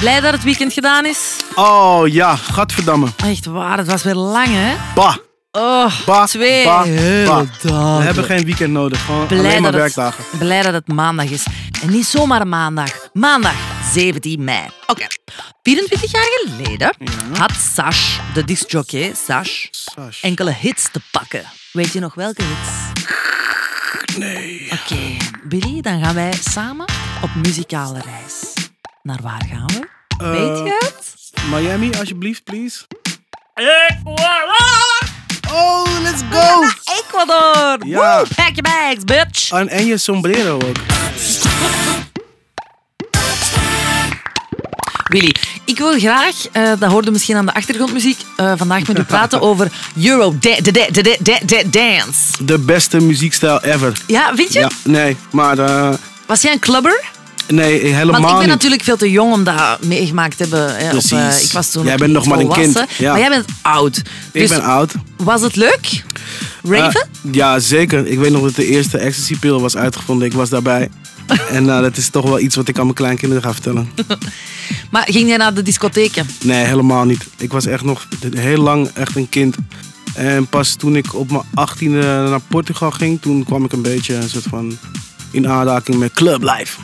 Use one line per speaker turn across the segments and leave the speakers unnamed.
Blij dat het weekend gedaan is. Oh,
Oh ja, gadverdamme.
Echt waar, het was weer lang, hè?
Bah,
Oh,
bah,
twee
bah,
hele
bah.
dagen.
We hebben geen weekend nodig, gewoon
blij
alleen maar
dat,
werkdagen.
het, blij dat het maandag is. En niet zomaar maandag. Maandag 17 mei. Oké. 24 jaar geleden had Sash, de discjockey Sash,
Sash.
enkele hits te pakken. Weet je nog welke hits? Nee. Oké, Billy, dan gaan wij samen op muzikale reis. Naar waar gaan we?
Eh,
Weet je het?
Miami, alsjeblieft, please. Oh, let's go!
Naar Ecuador!
Ja.
Woo, pack your bags, bitch!
En, en je sombrero ook. Ah.
Willy, ik wil graag, eh, dat hoorde misschien aan de achtergrondmuziek, eh, vandaag met u praten over Euro da- da- da- da- da- da- Dance.
De beste muziekstijl ever.
Ja, vind je?
Ja, nee, maar eh,
Was jij een clubber?
nee, helemaal
Want ik ben
niet.
natuurlijk veel te jong om dat meegemaakt te hebben. Hè, of, eh,
Precies.
ik was toen
Jij
ook
bent
niet
nog maar een kind,
volwassen.
ja.
Maar jij bent oud.
Ik
Dus
ben oud.
was het leuk? Raven?
Eh, ja, zeker. Ik weet nog dat de eerste ecstasy-pil was uitgevonden. Ik was daarbij. en nou, dat is toch wel iets wat ik aan mijn kleinkinderen ga vertellen.
maar ging jij naar de discotheken?
Nee, helemaal niet. Ik was echt nog heel lang echt een kind. En pas toen ik op mijn achttiende naar Portugal ging, toen kwam ik een beetje een soort van in aanraking met Club Life.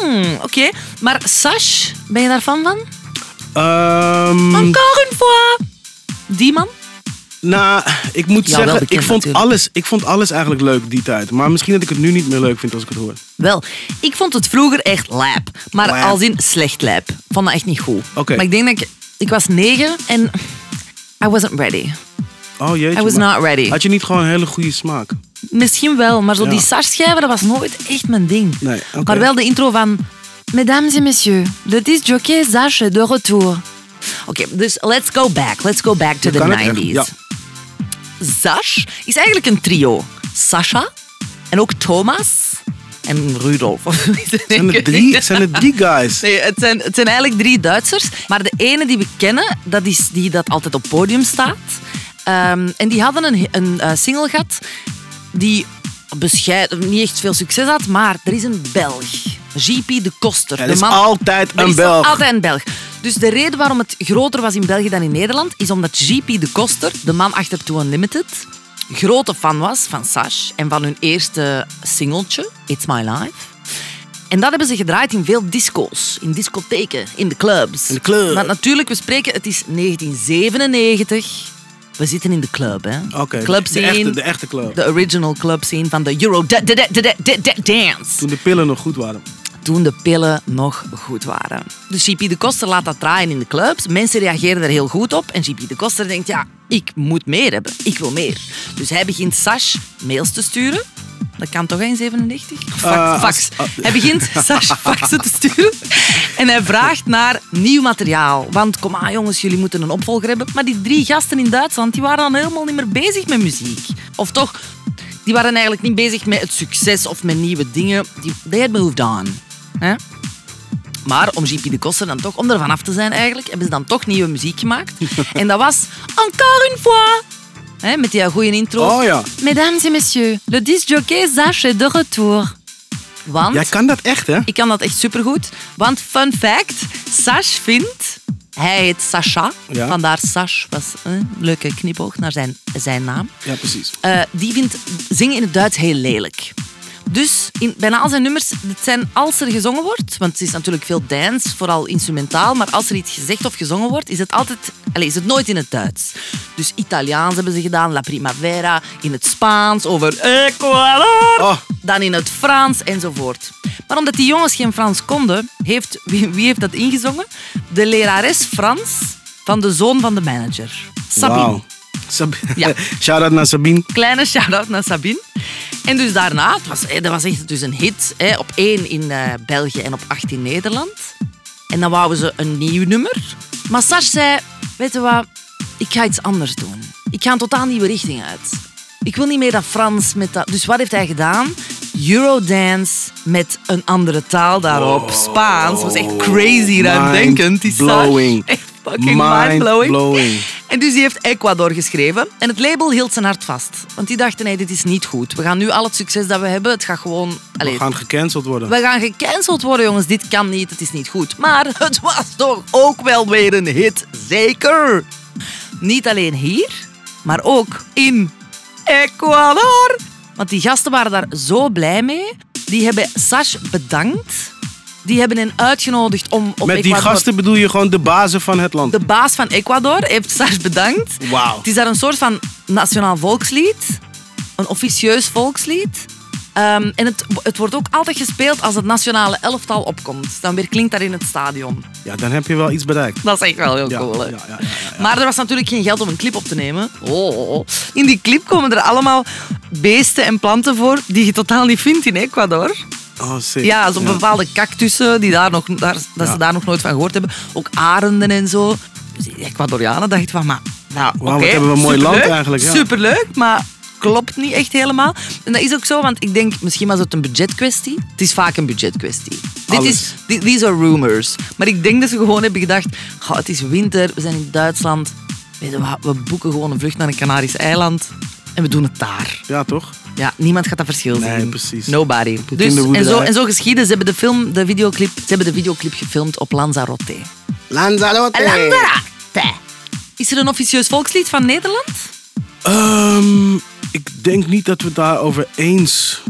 Hmm, Oké, maar Sash, ben je daar fan van?
Ehm,
Encore une fois! Die man?
nou, ik moet
Jou wel
zeggen,
bekend
ik vond,
natuurlijk.
alles, ik vond alles eigenlijk leuk die tijd. Maar misschien dat ik het nu niet meer leuk vind als ik het hoor.
Wel, ik vond het vroeger echt lijp. Maar
Lijp.
als in slecht lijp. Ik vond dat echt niet goed.
Oké.
Maar ik denk dat ik... Ik was negen en... I wasn't ready.
Oh jeetje.
I was
maar
not ready.
Had je niet gewoon een hele goede smaak?
Misschien wel, maar zo
Ja.
die sarschijven, dat was nooit echt mijn ding.
Nee, oké.
Maar wel de intro van... Mesdames et messieurs, de disjockey Sache de retour. Oké, dus let's go back. Let's go back to
Je
the
kan het echt,
90s.
ja.
Sash is eigenlijk een trio. Sasha en ook Thomas en Rudolf.
Zijn er drie, zijn er drie guys?
Nee, het zijn, het zijn eigenlijk drie Duitsers. Maar de ene die we kennen, dat is die dat altijd op het podium staat. Ehm, en die hadden een, een eh, single gehad die bescheiden, niet echt veel succes had. Maar er is een Belg. JP de Koster.
Er
de
is
man-
altijd
er
een
is
Belg.
Altijd een Belg. Dus de reden waarom het groter was in België dan in Nederland is omdat JP de Koster, de man achter Too Unlimited, grote fan was van Sash en van hun eerste singeltje, It's My Life. En dat hebben ze gedraaid in veel disco's, in discotheken, in de clubs.
In de club.
Want natuurlijk, we spreken, het is 1997. We zitten in de club, hè.
Oké,
club
de,
scene,
echte, de echte club.
de original club scene van de Euro da- da- da- da- da- da- Dance
Toen de pillen nog goed waren.
toen de pillen nog goed waren. Dus GP de Koster laat dat draaien in de clubs. Mensen reageren er heel goed op. En GP de Koster denkt, ja, ik moet meer hebben. Ik wil meer. Dus hij begint Sash mails te sturen. Dat kan toch hè, in 97? Fax.
Eh, als-
fax.
ah.
Hij begint Sash faxen te sturen. En hij vraagt naar nieuw materiaal. Want kom aan jongens, jullie moeten een opvolger hebben. Maar die drie gasten in Duitsland, die waren dan helemaal niet meer bezig met muziek. Of toch, die waren eigenlijk niet bezig met het succes of met nieuwe dingen. Die, they had moved on. Hè? Maar om JP de Koster dan toch, om er vanaf te zijn eigenlijk, hebben ze dan toch nieuwe muziek gemaakt. en dat was Encore une fois. Hè, met die goede intro.
Oh ja.
Mesdames et messieurs, le disjockey Zach est de retour. Want,
Jij kan dat echt, hè?
ik kan dat echt supergoed. Want fun fact, Sash vindt... Hij heet Sasha,
Ja.
vandaar Sash was een leuke knipoog naar zijn, zijn naam.
Ja, precies.
Eh, die vindt zingen in het Duits heel lelijk. Dus in bijna al zijn nummers, het zijn als er gezongen wordt, want het is natuurlijk veel dance, vooral instrumentaal, maar als er iets gezegd of gezongen wordt, is het altijd, allez, is het nooit in het Duits. Dus Italiaans hebben ze gedaan, La Primavera, in het Spaans, over Ecuador,
Oh.
dan in het Frans enzovoort. Maar omdat die jongens geen Frans konden, heeft, wie, wie heeft dat ingezongen? De lerares Frans van de zoon van de manager, Sabine.
Wauw. Sab-
Ja.
Shout-out naar Sabine.
kleine shout-out naar Sabine. En dus daarna, het was, eh, dat was echt dus een hit. hè, op één in eh, België en op acht in Nederland. En dan wouden ze een nieuw nummer. Maar Sars zei, weet je wat, ik ga iets anders doen. Ik ga een totaal nieuwe richting uit. Ik wil niet meer dat Frans met dat... Dus wat heeft hij gedaan? Eurodance met een andere taal daarop. Spaans. Dat was echt crazy ruimdenkend. die Sars.
Mind-blowing.
Echt fucking mind-blowing.
Mind-blowing.
En dus die heeft Ecuador geschreven. En het label hield zijn hart vast. Want die dachten, nee, dit is niet goed. We gaan nu al het succes dat we hebben, het gaat gewoon...
We
Allee,
gaan gecanceld worden.
we gaan gecanceld worden, jongens. Dit kan niet, het is niet goed. Maar het was toch ook wel weer een hit, zeker. Niet alleen hier, maar ook in Ecuador. Want die gasten waren daar zo blij mee. Die hebben Sash bedankt. Die hebben hen uitgenodigd om op
Met die
Ecuador-
gasten bedoel je gewoon de bazen van het land.
De baas van Ecuador heeft Sash bedankt.
Wauw.
Het is daar een soort van nationaal volkslied. Een officieus volkslied. Ehm, en het, het wordt ook altijd gespeeld als het nationale elftal opkomt. Dan weer klinkt dat in het stadion.
Ja, dan heb je wel iets bereikt.
Dat is echt wel heel
Ja,
cool. hè?
ja, ja, ja, ja.
Maar er was natuurlijk geen geld om een clip op te nemen. Oh. In die clip komen er allemaal beesten en planten voor die je totaal niet vindt in Ecuador.
Oh, sick.
Ja, zo'n bepaalde cactussen die daar nog, daar, dat ze
Ja.
daar nog nooit van gehoord hebben. Ook arenden en zo. Dus die Ecuadorianen dachten van, maar nou,
Wauw, wat
oké,
hebben we een mooi land
superleuk,
eigenlijk, ja.
Superleuk, maar klopt niet echt helemaal. En dat is ook zo, want ik denk, misschien was het een budgetkwestie. Het is vaak een budgetkwestie. Dit is,
Alles.
thi- these are rumors. Maar ik denk dat ze gewoon hebben gedacht, "Goh, het is winter, we zijn in Duitsland. Weet je wat, we boeken gewoon een vlucht naar een Canarisch eiland. En we doen het daar.
Ja, toch?
Ja, niemand gaat dat verschil
Nee,
zien.
precies.
Nobody.
in
Dus,
de
en,
woederij.
zo, en zo geschieden. Ze hebben de, film, de, videoclip, ze hebben de videoclip gefilmd op Lanzarote.
Lanzarote.
Lanzarote! Is er een officieus volkslied van Nederland?
Ehm, ik denk niet dat we het daarover eens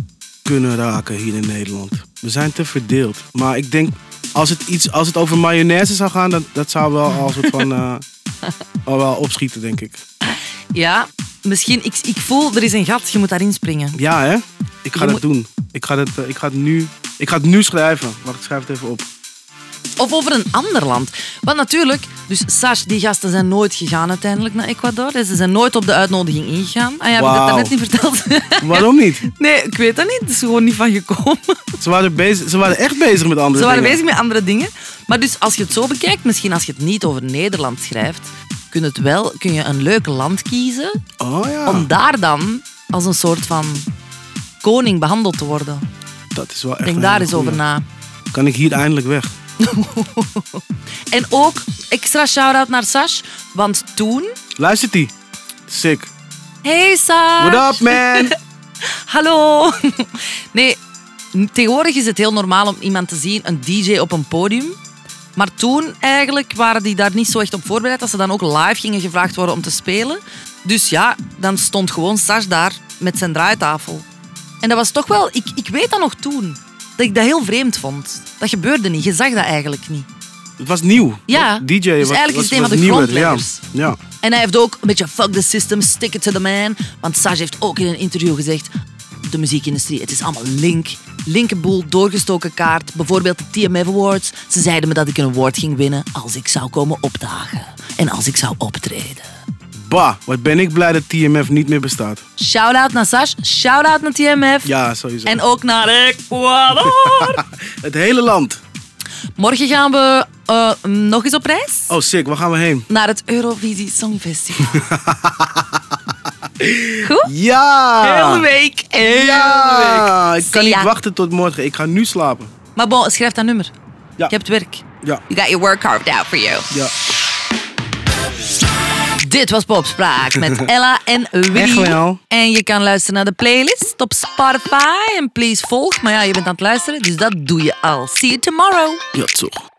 kunnen raken hier in Nederland. We zijn te verdeeld. Maar ik denk, als het, iets, als het over mayonaise zou gaan, dat, dat zou wel als het van. eh, al wel opschieten, denk ik.
Ja, misschien. Ik, ik voel, er is een gat, je moet daarin springen.
Ja, hè? Ik ga
Je
dat doen. Ik ga, dat, eh, ik, ga het nu, ik ga het nu schrijven. Wacht, ik schrijf het even op.
Of over een ander land. Want natuurlijk, dus Sash, die gasten zijn nooit gegaan uiteindelijk naar Ecuador. Dus Ze zijn nooit op de uitnodiging ingegaan. Ah ja, heb ik dat
Wauw.
daarnet niet verteld?
Waarom niet?
nee, ik weet dat niet. Het is gewoon niet van gekomen.
Ze waren, bezig, ze waren echt bezig met andere
Ze waren
dingen.
bezig met andere dingen. Maar dus als je het zo bekijkt, misschien als je het niet over Nederland schrijft, kun, het wel, kun je een leuk land kiezen
Oh ja.
om daar dan als een soort van koning behandeld te worden.
dat is wel echt.
Denk
een
daar
hele
eens over
goeie.
na.
Kan ik hier eindelijk weg?
En ook extra shout-out naar Sash, want toen...
Luistert die? Sick.
Hey Sash!
What up, man?
Hallo! Nee, tegenwoordig is het heel normaal om iemand te zien, een DJ op een podium. Maar toen eigenlijk waren die daar niet zo echt op voorbereid dat ze dan ook live gingen gevraagd worden om te spelen. Dus ja, dan stond gewoon Sars daar met zijn draaitafel. En dat was toch wel, ik, ik weet dat nog toen, dat ik dat heel vreemd vond. Dat gebeurde niet, je zag dat eigenlijk niet.
Het was nieuw.
Ja.
DJ
Dus
was,
eigenlijk is
was,
het een
was
van de
nieuwer,
grondleggers.
Ja.
En hij heeft ook een beetje fuck the system, stick it to the man. Want Saj heeft ook in een interview gezegd, de muziekindustrie, het is allemaal link. Linkenboel, doorgestoken kaart, bijvoorbeeld de TMF Awards. Ze zeiden me dat ik een award ging winnen als ik zou komen opdagen. En als ik zou optreden.
ja. Bah, wat ben ik blij dat TMF niet meer bestaat.
Shout-out naar Saj, shout-out naar TMF.
Ja, sowieso.
En ook naar eh, Ecuador.
Het hele land.
Morgen gaan we eh, nog eens op reis
Oh, sick. Waar gaan we heen?
naar het Eurovisie Songfestival. Goed?
Ja!
Hele week. Hele week.
Ja! Ik
Zie
kan niet
ya.
wachten tot morgen. Ik ga nu slapen.
Maar bon, schrijf dat nummer.
Ja.
Je hebt werk.
Ja.
You got your work carved out for you.
Ja.
Dit was Popspraak met Ella en Willy.
Echt wel.
En je kan luisteren naar de playlist op Spotify. En please volg. Maar ja, je bent aan het luisteren, dus dat doe je al. See you tomorrow.
Ja, toch.